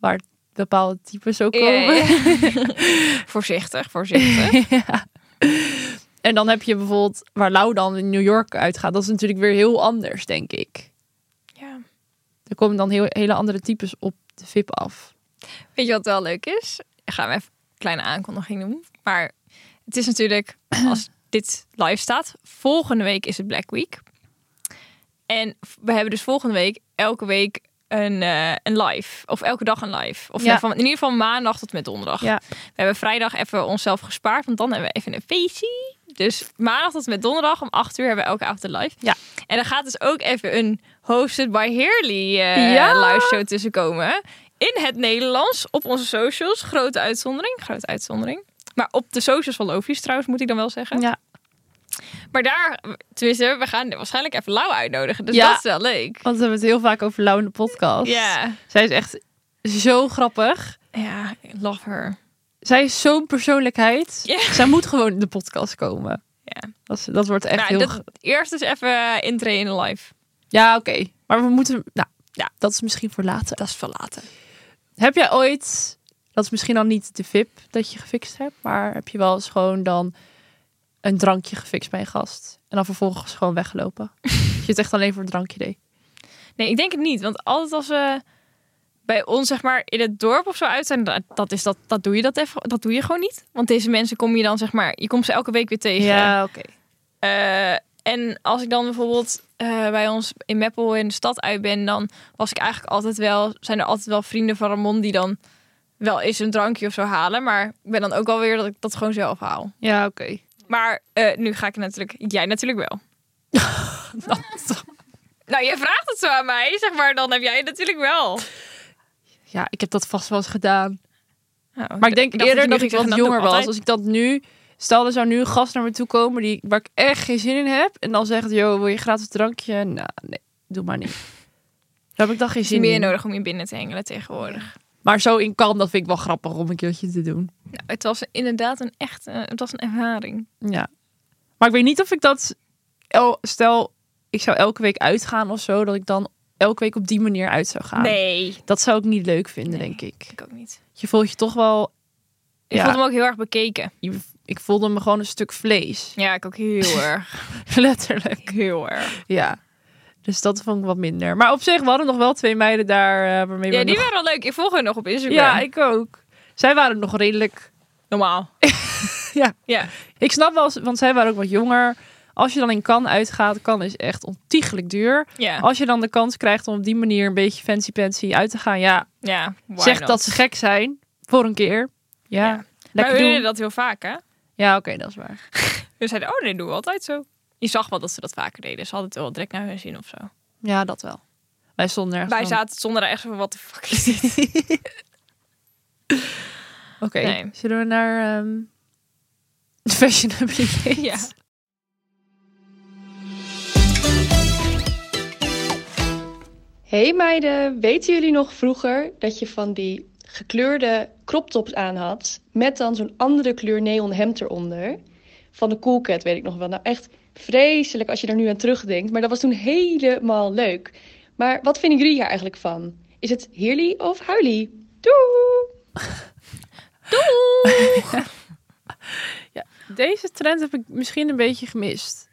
[SPEAKER 2] waar bepaalde types ook
[SPEAKER 1] Ja,
[SPEAKER 2] komen.
[SPEAKER 1] ja, ja. voorzichtig, voorzichtig.
[SPEAKER 2] Ja. En dan heb je bijvoorbeeld waar Lau dan in New York uitgaat. Dat is natuurlijk weer heel anders, denk ik.
[SPEAKER 1] Ja.
[SPEAKER 2] Er komen dan heel, hele andere types op de VIP af.
[SPEAKER 1] Weet je wat wel leuk is? Ik ga hem even een kleine aankondiging doen. Maar het is natuurlijk, als dit live staat, volgende week is het Black Week. En we hebben dus volgende week elke week een, eh, een live. Of elke dag een live. Of
[SPEAKER 2] Ja.
[SPEAKER 1] van, in ieder geval maandag tot met donderdag.
[SPEAKER 2] Ja.
[SPEAKER 1] We hebben vrijdag even onszelf gespaard, want dan hebben we even een feestje. Dus maandag tot met donderdag om 8 uur hebben we elke avond een live.
[SPEAKER 2] Ja.
[SPEAKER 1] En er gaat dus ook even een Hosted by Heerly eh
[SPEAKER 2] Ja.
[SPEAKER 1] live show tussenkomen. In het Nederlands, op onze socials. Grote uitzondering, grote uitzondering. Maar op de socials van Lofies trouwens, moet ik dan wel zeggen.
[SPEAKER 2] Ja.
[SPEAKER 1] Maar daar, tenminste, we gaan waarschijnlijk even Lau uitnodigen. Dus
[SPEAKER 2] Ja.
[SPEAKER 1] dat is wel leuk.
[SPEAKER 2] Want we hebben het heel vaak over Lau in de podcast.
[SPEAKER 1] Ja.
[SPEAKER 2] Zij is echt zo grappig.
[SPEAKER 1] Ja, I love her.
[SPEAKER 2] Zij is zo'n persoonlijkheid.
[SPEAKER 1] Ja.
[SPEAKER 2] Zij moet gewoon in de podcast komen.
[SPEAKER 1] Ja.
[SPEAKER 2] Dat, is- dat wordt echt
[SPEAKER 1] nou,
[SPEAKER 2] heel...
[SPEAKER 1] dat-
[SPEAKER 2] ge-
[SPEAKER 1] eerst is even eh, intree in de live.
[SPEAKER 2] Ja, oké. Maar we moeten... Nou,
[SPEAKER 1] Ja.
[SPEAKER 2] dat is misschien voor later.
[SPEAKER 1] Dat is verlaten.
[SPEAKER 2] Heb jij ooit... Dat is misschien dan niet de VIP dat je gefixt hebt. Maar heb je wel eens gewoon dan een drankje gefixt bij een gast. En dan vervolgens gewoon weggelopen. dat je het echt alleen voor een drankje deed.
[SPEAKER 1] Nee, ik denk het niet. Want altijd als we bij ons, zeg maar, in het dorp of zo uit zijn, dat, dat, is dat, dat doe je dat even. Dat doe je gewoon niet. Want deze mensen kom je dan, zeg maar, je komt ze elke week weer tegen.
[SPEAKER 2] oké.
[SPEAKER 1] Eh, en als ik dan bijvoorbeeld eh, bij ons in Meppel in de stad uit ben, dan was ik eigenlijk altijd wel, zijn er altijd wel vrienden van Ramon die dan wel eens een drankje of zo halen. Maar ik ben dan ook alweer dat ik dat gewoon zelf haal.
[SPEAKER 2] Ja, oké.
[SPEAKER 1] Maar eh, nu ga ik natuurlijk, jij natuurlijk wel. Nou, jij vraagt het zo aan mij, zeg maar, dan heb jij het natuurlijk wel.
[SPEAKER 2] Ja, ik heb dat vast wel eens gedaan.
[SPEAKER 1] Nou,
[SPEAKER 2] Maar ik denk
[SPEAKER 1] dacht
[SPEAKER 2] eerder
[SPEAKER 1] je nu
[SPEAKER 2] dat ik
[SPEAKER 1] ging
[SPEAKER 2] wat
[SPEAKER 1] zeggen, doe
[SPEAKER 2] jonger
[SPEAKER 1] ik
[SPEAKER 2] was.
[SPEAKER 1] altijd.
[SPEAKER 2] Als ik dat nu... Stel, er zou nu een gast naar me toe komen die, waar ik echt geen zin in heb. En dan zegt, yo, wil je gratis drankje? Nou, nee, doe maar niet. Daar heb ik dan
[SPEAKER 1] Het
[SPEAKER 2] geen
[SPEAKER 1] is
[SPEAKER 2] zin
[SPEAKER 1] meer
[SPEAKER 2] in.
[SPEAKER 1] nodig om je binnen te hengelen tegenwoordig.
[SPEAKER 2] Maar zo in kalm, dat vind ik wel grappig om een keertje te doen.
[SPEAKER 1] Nou, het was inderdaad een echt, eh, het was een ervaring.
[SPEAKER 2] Ja. Maar ik weet niet of ik dat... el- Stel, ik zou elke week uitgaan of zo. Dat ik dan elke week op die manier uit zou gaan.
[SPEAKER 1] Nee,
[SPEAKER 2] Dat zou ik niet leuk vinden,
[SPEAKER 1] Nee.
[SPEAKER 2] denk ik.
[SPEAKER 1] ik ook niet.
[SPEAKER 2] Je voelt je toch wel...
[SPEAKER 1] Ik
[SPEAKER 2] Ja.
[SPEAKER 1] vond hem ook heel erg bekeken.
[SPEAKER 2] je- Ik voelde me gewoon een stuk vlees.
[SPEAKER 1] Ja, ik ook heel erg.
[SPEAKER 2] Letterlijk.
[SPEAKER 1] heel erg.
[SPEAKER 2] Ja. Dus dat vond ik wat minder. Maar op zich, we hadden nog wel twee meiden daar eh, waarmee we
[SPEAKER 1] Ja, die
[SPEAKER 2] nog-
[SPEAKER 1] waren wel leuk. Ik volg hun nog op Instagram.
[SPEAKER 2] Ja, ik ook. Zij waren nog redelijk...
[SPEAKER 1] Normaal.
[SPEAKER 2] Ja.
[SPEAKER 1] Ja.
[SPEAKER 2] Ik snap wel, want zij waren ook wat jonger. Als je dan in kan uitgaat, kan is echt ontiegelijk duur.
[SPEAKER 1] Ja.
[SPEAKER 2] Als je dan de kans krijgt om op die manier een beetje fancy-pancy uit te gaan, ja,
[SPEAKER 1] ja why
[SPEAKER 2] zeg
[SPEAKER 1] not?
[SPEAKER 2] dat ze gek zijn. Voor een keer. Ja,
[SPEAKER 1] Ja. Maar
[SPEAKER 2] lekker
[SPEAKER 1] we
[SPEAKER 2] doen.
[SPEAKER 1] deden dat heel vaak, hè?
[SPEAKER 2] Ja, oké, dat is waar.
[SPEAKER 1] We zeiden, oh nee, doen we altijd zo. Je zag wel dat ze dat vaker deden. Ze hadden het wel direct naar hun zin of zo.
[SPEAKER 2] Ja, dat wel. Wij stonden nergens
[SPEAKER 1] Wij
[SPEAKER 2] van,
[SPEAKER 1] zaten zonder echt zo van, wat de fuck is dit?
[SPEAKER 2] Oké,
[SPEAKER 1] Nee.
[SPEAKER 2] zullen we naar ehm Fashion Update?
[SPEAKER 1] ja.
[SPEAKER 5] Hey meiden, weten jullie nog vroeger dat je van die gekleurde croptops aan had met dan zo'n andere kleur neon hemd eronder? Van de Cool Cat weet ik nog wel. Nou echt vreselijk als je er nu aan terugdenkt, maar dat was toen helemaal leuk. Maar wat vinden jullie hier eigenlijk van? Is het heerly of huilie? Doei!
[SPEAKER 2] Deze trend heb ik misschien een beetje gemist.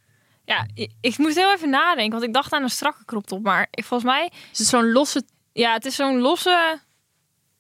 [SPEAKER 1] Ja, ik, ik moest heel even nadenken, want ik dacht aan een strakke crop top. Maar ik, volgens mij,
[SPEAKER 2] Is het zo'n losse...
[SPEAKER 1] ja, het is zo'n losse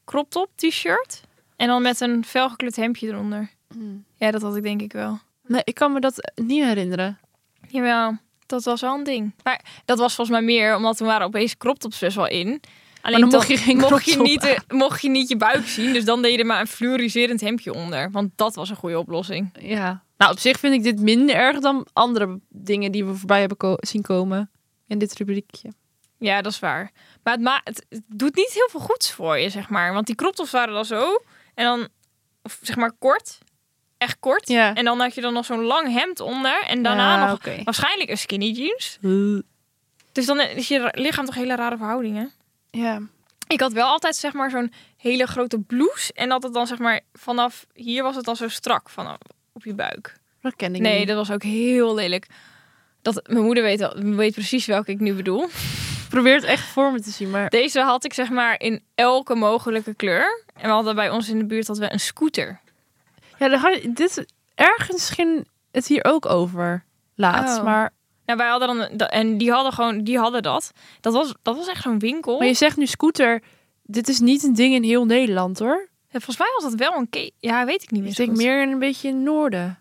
[SPEAKER 1] crop top t-shirt. En dan met een felgekleurd hemdje eronder.
[SPEAKER 2] Hmm.
[SPEAKER 1] Ja, dat had ik denk ik wel.
[SPEAKER 2] Nee, ik kan me dat niet herinneren.
[SPEAKER 1] Jawel, dat was wel een ding. Maar dat was volgens mij meer, omdat toen waren opeens crop tops best wel in. Alleen
[SPEAKER 2] dan mocht je geen crop
[SPEAKER 1] mocht je,
[SPEAKER 2] top
[SPEAKER 1] niet, de- mocht je niet je buik zien, dus dan deed je er maar een fluoriserend hemdje onder. Want dat was een goede oplossing.
[SPEAKER 2] Ja. Nou, op zich vind ik dit minder erg dan andere dingen die we voorbij hebben ko- zien komen in dit rubriekje.
[SPEAKER 1] Ja, dat is waar. Maar het, ma het, het doet niet heel veel goeds voor je, zeg maar. Want die crop tops waren dan zo. En dan, of zeg maar kort. Echt kort.
[SPEAKER 2] Ja.
[SPEAKER 1] En dan had je dan nog zo'n lang hemd onder. En daarna
[SPEAKER 2] Ja,
[SPEAKER 1] nog
[SPEAKER 2] oké.
[SPEAKER 1] waarschijnlijk een skinny jeans. Dus dan is je ra- lichaam toch hele rare verhoudingen.
[SPEAKER 2] Ja.
[SPEAKER 1] Ik had wel altijd zeg maar zo'n hele grote blouse. En dat het dan zeg maar vanaf hier was het dan zo strak vanaf op je buik.
[SPEAKER 2] Dat ken ik
[SPEAKER 1] Nee,
[SPEAKER 2] niet.
[SPEAKER 1] dat was ook heel lelijk. Dat, mijn moeder weet, al- weet precies welke ik nu bedoel.
[SPEAKER 2] Ik probeer het echt voor me te zien, maar...
[SPEAKER 1] Deze had ik zeg maar in elke mogelijke kleur. En we hadden bij ons in de buurt hadden we een scooter.
[SPEAKER 2] Ja, daar had je- dit... Ergens ging het hier ook over laatst,
[SPEAKER 1] Oh.
[SPEAKER 2] maar...
[SPEAKER 1] Nou, wij hadden dan een- da- en die hadden gewoon die hadden dat. Dat was dat was echt zo'n winkel.
[SPEAKER 2] Maar je zegt nu scooter, dit is niet een ding in heel Nederland hoor.
[SPEAKER 1] En Volgens mij was dat wel een ke- ja, weet ik niet meer.
[SPEAKER 2] Ik
[SPEAKER 1] zo
[SPEAKER 2] denk
[SPEAKER 1] goed.
[SPEAKER 2] meer in een beetje in het noorden.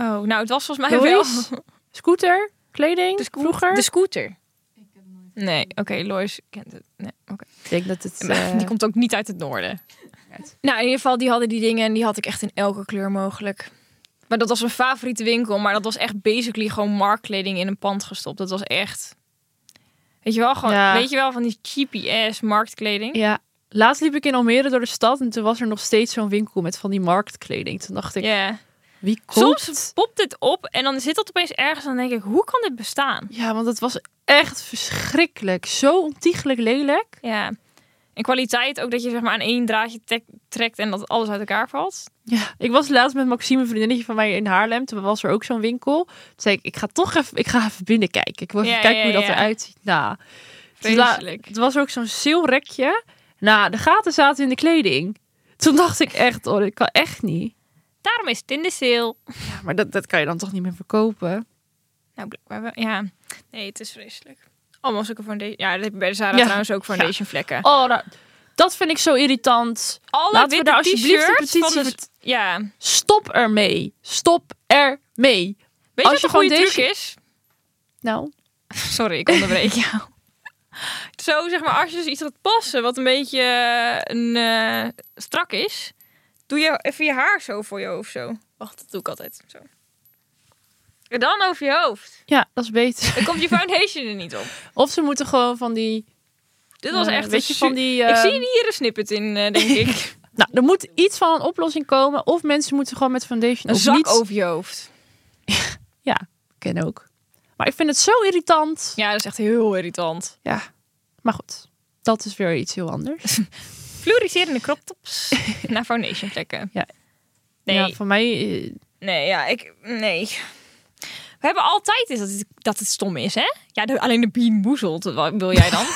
[SPEAKER 1] Oh, nou, het was
[SPEAKER 2] Ah,
[SPEAKER 1] volgens mij wel
[SPEAKER 2] Lois? Scooter? Kleding?
[SPEAKER 1] De scoot-
[SPEAKER 2] vroeger?
[SPEAKER 1] de scooter. Nee, oké, Lois kent het. Nee, oké.
[SPEAKER 2] Ik denk dat het...
[SPEAKER 1] Maar
[SPEAKER 2] eh,
[SPEAKER 1] Die komt ook niet uit het noorden. Nou, in ieder geval, die hadden die dingen en die had ik echt in elke kleur mogelijk. Maar dat was mijn favoriete winkel, maar dat was echt basically gewoon marktkleding in een pand gestopt. Dat was echt. Weet je wel, gewoon,
[SPEAKER 2] Ja.
[SPEAKER 1] weet je wel van die cheapy ass marktkleding? Ja,
[SPEAKER 2] Ja, laatst liep ik in Almere door de stad en toen was er nog steeds zo'n winkel met van die marktkleding. Toen dacht ik, wie komt?
[SPEAKER 1] soms popt dit op en dan zit dat opeens ergens en dan denk ik, hoe kan dit bestaan?
[SPEAKER 2] Ja, want het was echt verschrikkelijk. Zo ontiegelijk lelijk.
[SPEAKER 1] Ja. En kwaliteit ook dat je zeg maar aan één draadje tek- trekt en dat alles uit elkaar valt.
[SPEAKER 2] Ja, ik was laatst met Maxime, een vriendinnetje van mij in Haarlem. Toen was er ook zo'n winkel. Toen zei ik, ik ga toch even, ik ga even binnenkijken. Ik wil even
[SPEAKER 1] Ja,
[SPEAKER 2] kijken hoe
[SPEAKER 1] ja,
[SPEAKER 2] dat
[SPEAKER 1] ja.
[SPEAKER 2] eruit ziet. Nou, toen la-
[SPEAKER 1] Vreselijk.
[SPEAKER 2] Het was ook zo'n sale-rekje. Nou, de gaten zaten in de kleding. Toen dacht ik echt, oh, dit kan echt niet.
[SPEAKER 1] Daarom is het in de sale.
[SPEAKER 2] Ja, maar dat, dat kan je dan toch niet meer verkopen?
[SPEAKER 1] Nou, blijkbaar wel. Ja. Nee, het is vreselijk. Allemaal zulke foundation. Ja, dat heb je bij de Zara
[SPEAKER 2] Ja.
[SPEAKER 1] trouwens ook foundation vlekken.
[SPEAKER 2] Oh, nou, dat vind ik zo irritant.
[SPEAKER 1] Alle
[SPEAKER 2] Laten we daar alsjeblieft een
[SPEAKER 1] t-shirts van
[SPEAKER 2] petitie
[SPEAKER 1] de- Ja.
[SPEAKER 2] Stop ermee. Stop ermee.
[SPEAKER 1] Weet je
[SPEAKER 2] Als
[SPEAKER 1] wat
[SPEAKER 2] je
[SPEAKER 1] een goede truc
[SPEAKER 2] foundation-
[SPEAKER 1] is?
[SPEAKER 2] Nou,
[SPEAKER 1] Sorry, ik onderbreek jou. Zo, zeg maar, als je dus iets gaat passen wat een beetje eh, een, eh, strak is, doe je even je haar zo voor je hoofd zo. Wacht, dat doe ik altijd. Zo. En dan over je hoofd.
[SPEAKER 2] ja, dat is beter.
[SPEAKER 1] Dan komt je foundation er niet op.
[SPEAKER 2] Of ze moeten gewoon van die...
[SPEAKER 1] Dit was
[SPEAKER 2] eh,
[SPEAKER 1] echt
[SPEAKER 2] weet je,
[SPEAKER 1] een
[SPEAKER 2] van
[SPEAKER 1] su-
[SPEAKER 2] die...
[SPEAKER 1] Ik
[SPEAKER 2] eh,
[SPEAKER 1] zie hier een snippet in, eh, denk ik.
[SPEAKER 2] Nou, er moet iets van een oplossing komen. Of mensen moeten gewoon met foundation...
[SPEAKER 1] Een
[SPEAKER 2] of
[SPEAKER 1] zak
[SPEAKER 2] niets-
[SPEAKER 1] over je hoofd.
[SPEAKER 2] Ken ook. Maar ik vind het zo irritant.
[SPEAKER 1] Ja, dat is echt heel irritant.
[SPEAKER 2] Ja. Maar goed, dat is weer iets heel anders.
[SPEAKER 1] Fluoriserende croptops naar foundation vlekken.
[SPEAKER 2] Ja.
[SPEAKER 1] Nee,
[SPEAKER 2] Ja, voor mij... eh,
[SPEAKER 1] nee, ja, ik, nee. We hebben altijd is dat het, dat het stom is, hè? Ja, de- alleen de bean boezelt. Wat wil jij dan?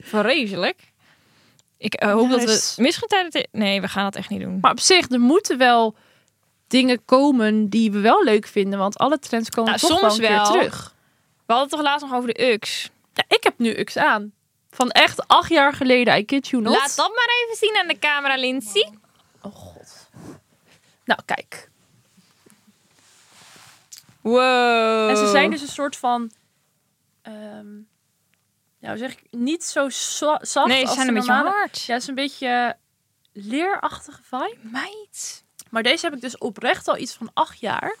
[SPEAKER 1] Vreselijk. Ik eh, hoop
[SPEAKER 2] Ja,
[SPEAKER 1] dat
[SPEAKER 2] is-
[SPEAKER 1] we misgaan tijdens... Nee, we gaan dat echt niet doen.
[SPEAKER 2] Maar op zich, er moeten wel dingen komen die we wel leuk vinden. Want alle trends komen
[SPEAKER 1] Nou,
[SPEAKER 2] toch
[SPEAKER 1] soms
[SPEAKER 2] wel een
[SPEAKER 1] wel.
[SPEAKER 2] keer terug.
[SPEAKER 1] We hadden het toch laatst nog over de UX.
[SPEAKER 2] Ja, ik heb nu UX aan. Van echt acht jaar geleden, I kid you not.
[SPEAKER 1] Laat dat maar even zien aan de camera, Lindsay.
[SPEAKER 2] Oh god. Nou, kijk.
[SPEAKER 1] Wow.
[SPEAKER 2] En ze zijn dus een soort van... ehm, nou zeg ik, niet zo za- zacht
[SPEAKER 1] Nee, ze
[SPEAKER 2] als
[SPEAKER 1] zijn
[SPEAKER 2] de
[SPEAKER 1] een beetje
[SPEAKER 2] normale.
[SPEAKER 1] hard.
[SPEAKER 2] Ja, het is een beetje leerachtige vibe.
[SPEAKER 1] Meid.
[SPEAKER 2] Maar deze heb ik dus oprecht al iets van acht jaar.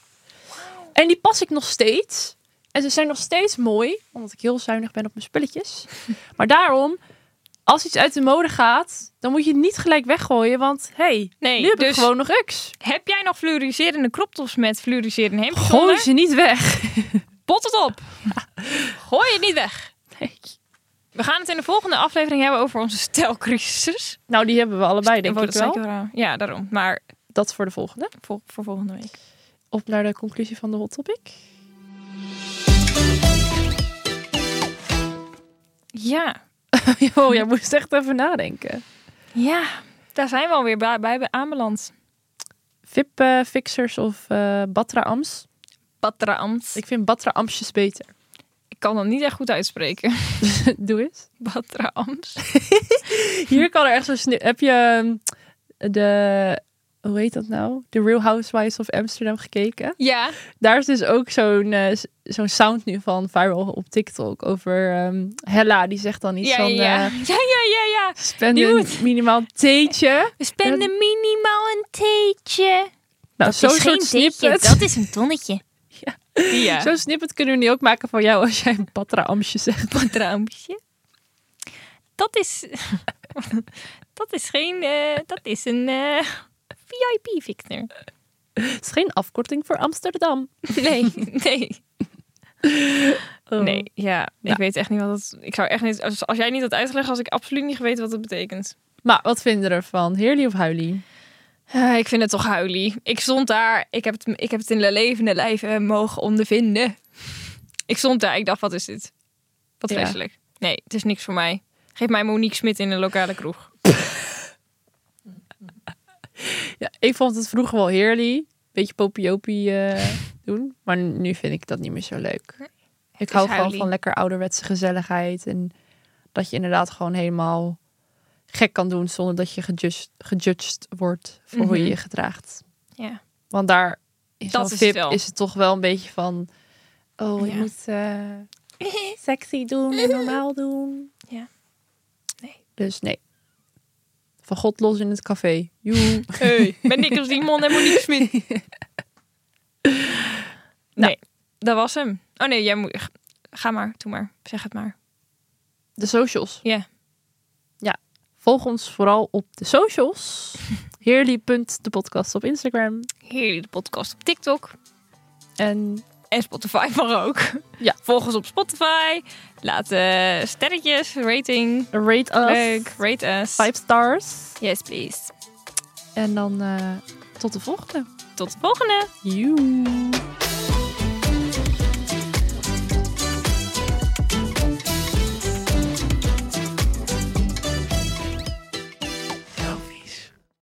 [SPEAKER 2] En die pas ik nog steeds. En ze zijn nog steeds mooi, omdat ik heel zuinig ben op mijn spulletjes. maar daarom, als iets uit de mode gaat, dan moet je het niet gelijk weggooien. Want hey,
[SPEAKER 1] Nee,
[SPEAKER 2] nu heb ik
[SPEAKER 1] dus
[SPEAKER 2] gewoon nog UX.
[SPEAKER 1] heb jij nog fluoriserende kroptops met fluoriserende hemdjes
[SPEAKER 2] Gooi
[SPEAKER 1] onder?
[SPEAKER 2] ze niet weg.
[SPEAKER 1] Pot het op. Gooi het niet weg.
[SPEAKER 2] Nee.
[SPEAKER 1] We gaan het in de volgende aflevering hebben over onze stelcrisis.
[SPEAKER 2] Nou, die hebben we allebei, denk
[SPEAKER 1] Oh,
[SPEAKER 2] ik
[SPEAKER 1] dat zei
[SPEAKER 2] wel.
[SPEAKER 1] raar. Ja, daarom. Maar
[SPEAKER 2] Dat voor de volgende.
[SPEAKER 1] vol- voor volgende week.
[SPEAKER 2] Op naar de conclusie van de hot topic.
[SPEAKER 1] Ja.
[SPEAKER 2] Oh, jij moest echt even nadenken.
[SPEAKER 1] Ja. Daar zijn we alweer bij, bij aanbeland.
[SPEAKER 2] VIP-fixers of eh Batra-ams?
[SPEAKER 1] Batraamt. Ik,
[SPEAKER 2] Ik vind Batra-amsjes beter.
[SPEAKER 1] ik kan dat niet echt goed uitspreken.
[SPEAKER 2] Doe eens.
[SPEAKER 1] Batraamt.
[SPEAKER 2] Hier kan er echt zo'n sneeuw... Heb je ehm, de... Hoe heet dat nou? De Real Housewives of Amsterdam gekeken?
[SPEAKER 1] Ja.
[SPEAKER 2] Daar is dus ook zo'n eh, s- zo'n sound nu van viral op TikTok over ehm, Hella. Die zegt dan iets
[SPEAKER 1] Ja, ja,
[SPEAKER 2] van...
[SPEAKER 1] ja.
[SPEAKER 2] eh,
[SPEAKER 1] ja, ja, ja, ja.
[SPEAKER 2] spend
[SPEAKER 1] Die
[SPEAKER 2] een
[SPEAKER 1] moet-
[SPEAKER 2] minimaal theetje.
[SPEAKER 1] We spenden minimaal een theetje.
[SPEAKER 2] Nou, zo'n soort snippet.
[SPEAKER 1] is een tonnetje. Ja. ja.
[SPEAKER 2] Zo'n snippet kunnen we nu ook maken van jou als jij een Batra Amsje zegt.
[SPEAKER 1] Batraampje. Dat is... dat is geen... eh, dat is een eh, VIP, Victor.
[SPEAKER 2] Het is geen afkorting voor Amsterdam.
[SPEAKER 1] Nee, nee.
[SPEAKER 2] Oh.
[SPEAKER 1] Nee, Oh. ja.
[SPEAKER 2] Ja.
[SPEAKER 1] Ik weet echt niet wat dat... Ik zou echt niet... Als, als jij niet had uitgelegd, had ik absoluut niet geweten wat dat betekent.
[SPEAKER 2] Maar wat vinden we ervan? Heerly of huilie?
[SPEAKER 1] Eh, ik vind het toch huilie. Ik stond daar. Ik heb het, ik heb het in de levende lijven mogen ondervinden. Ik stond daar. Ik dacht, wat is dit? Wat
[SPEAKER 2] Ja.
[SPEAKER 1] vreselijk. Nee, het is niks voor mij. Geef mij Monique Smit in een lokale kroeg.
[SPEAKER 2] Ja, ik vond het vroeger wel heerlijk. Beetje popiopie eh, doen. Maar nu vind ik dat niet meer zo leuk. Ik
[SPEAKER 1] is
[SPEAKER 2] hou gewoon
[SPEAKER 1] huilie.
[SPEAKER 2] van lekker ouderwetse gezelligheid. En dat je inderdaad gewoon helemaal gek kan doen zonder dat je gejudged, gejudged wordt voor hoe je
[SPEAKER 1] Mhm.
[SPEAKER 2] je gedraagt.
[SPEAKER 1] Ja.
[SPEAKER 2] Want daar in
[SPEAKER 1] Dat
[SPEAKER 2] zo'n
[SPEAKER 1] is
[SPEAKER 2] VIP
[SPEAKER 1] het wel.
[SPEAKER 2] is het toch wel een beetje van... Oh, je
[SPEAKER 1] Ja.
[SPEAKER 2] moet eh, sexy doen en normaal doen.
[SPEAKER 1] Ja. Nee.
[SPEAKER 2] Dus nee. Van God los in het café. Joe.
[SPEAKER 1] Hey, ben ik als Simon en Monique Smit. Nee, Nou, dat was hem. Oh nee, jij moet... Ga maar, doe maar. Zeg het maar.
[SPEAKER 2] De socials.
[SPEAKER 1] Ja.
[SPEAKER 2] Ja. Volg ons vooral op de socials. de podcast op Instagram.
[SPEAKER 1] Heerlijk de podcast op TikTok.
[SPEAKER 2] En
[SPEAKER 1] En Spotify mag ook.
[SPEAKER 2] Ja.
[SPEAKER 1] Volg ons op Spotify. Laat eh, sterretjes, rating...
[SPEAKER 2] rate us.
[SPEAKER 1] Leuk. Rate us.
[SPEAKER 2] Five stars.
[SPEAKER 1] Yes, please.
[SPEAKER 2] En dan eh, tot de volgende.
[SPEAKER 1] Tot de volgende.
[SPEAKER 2] Joe.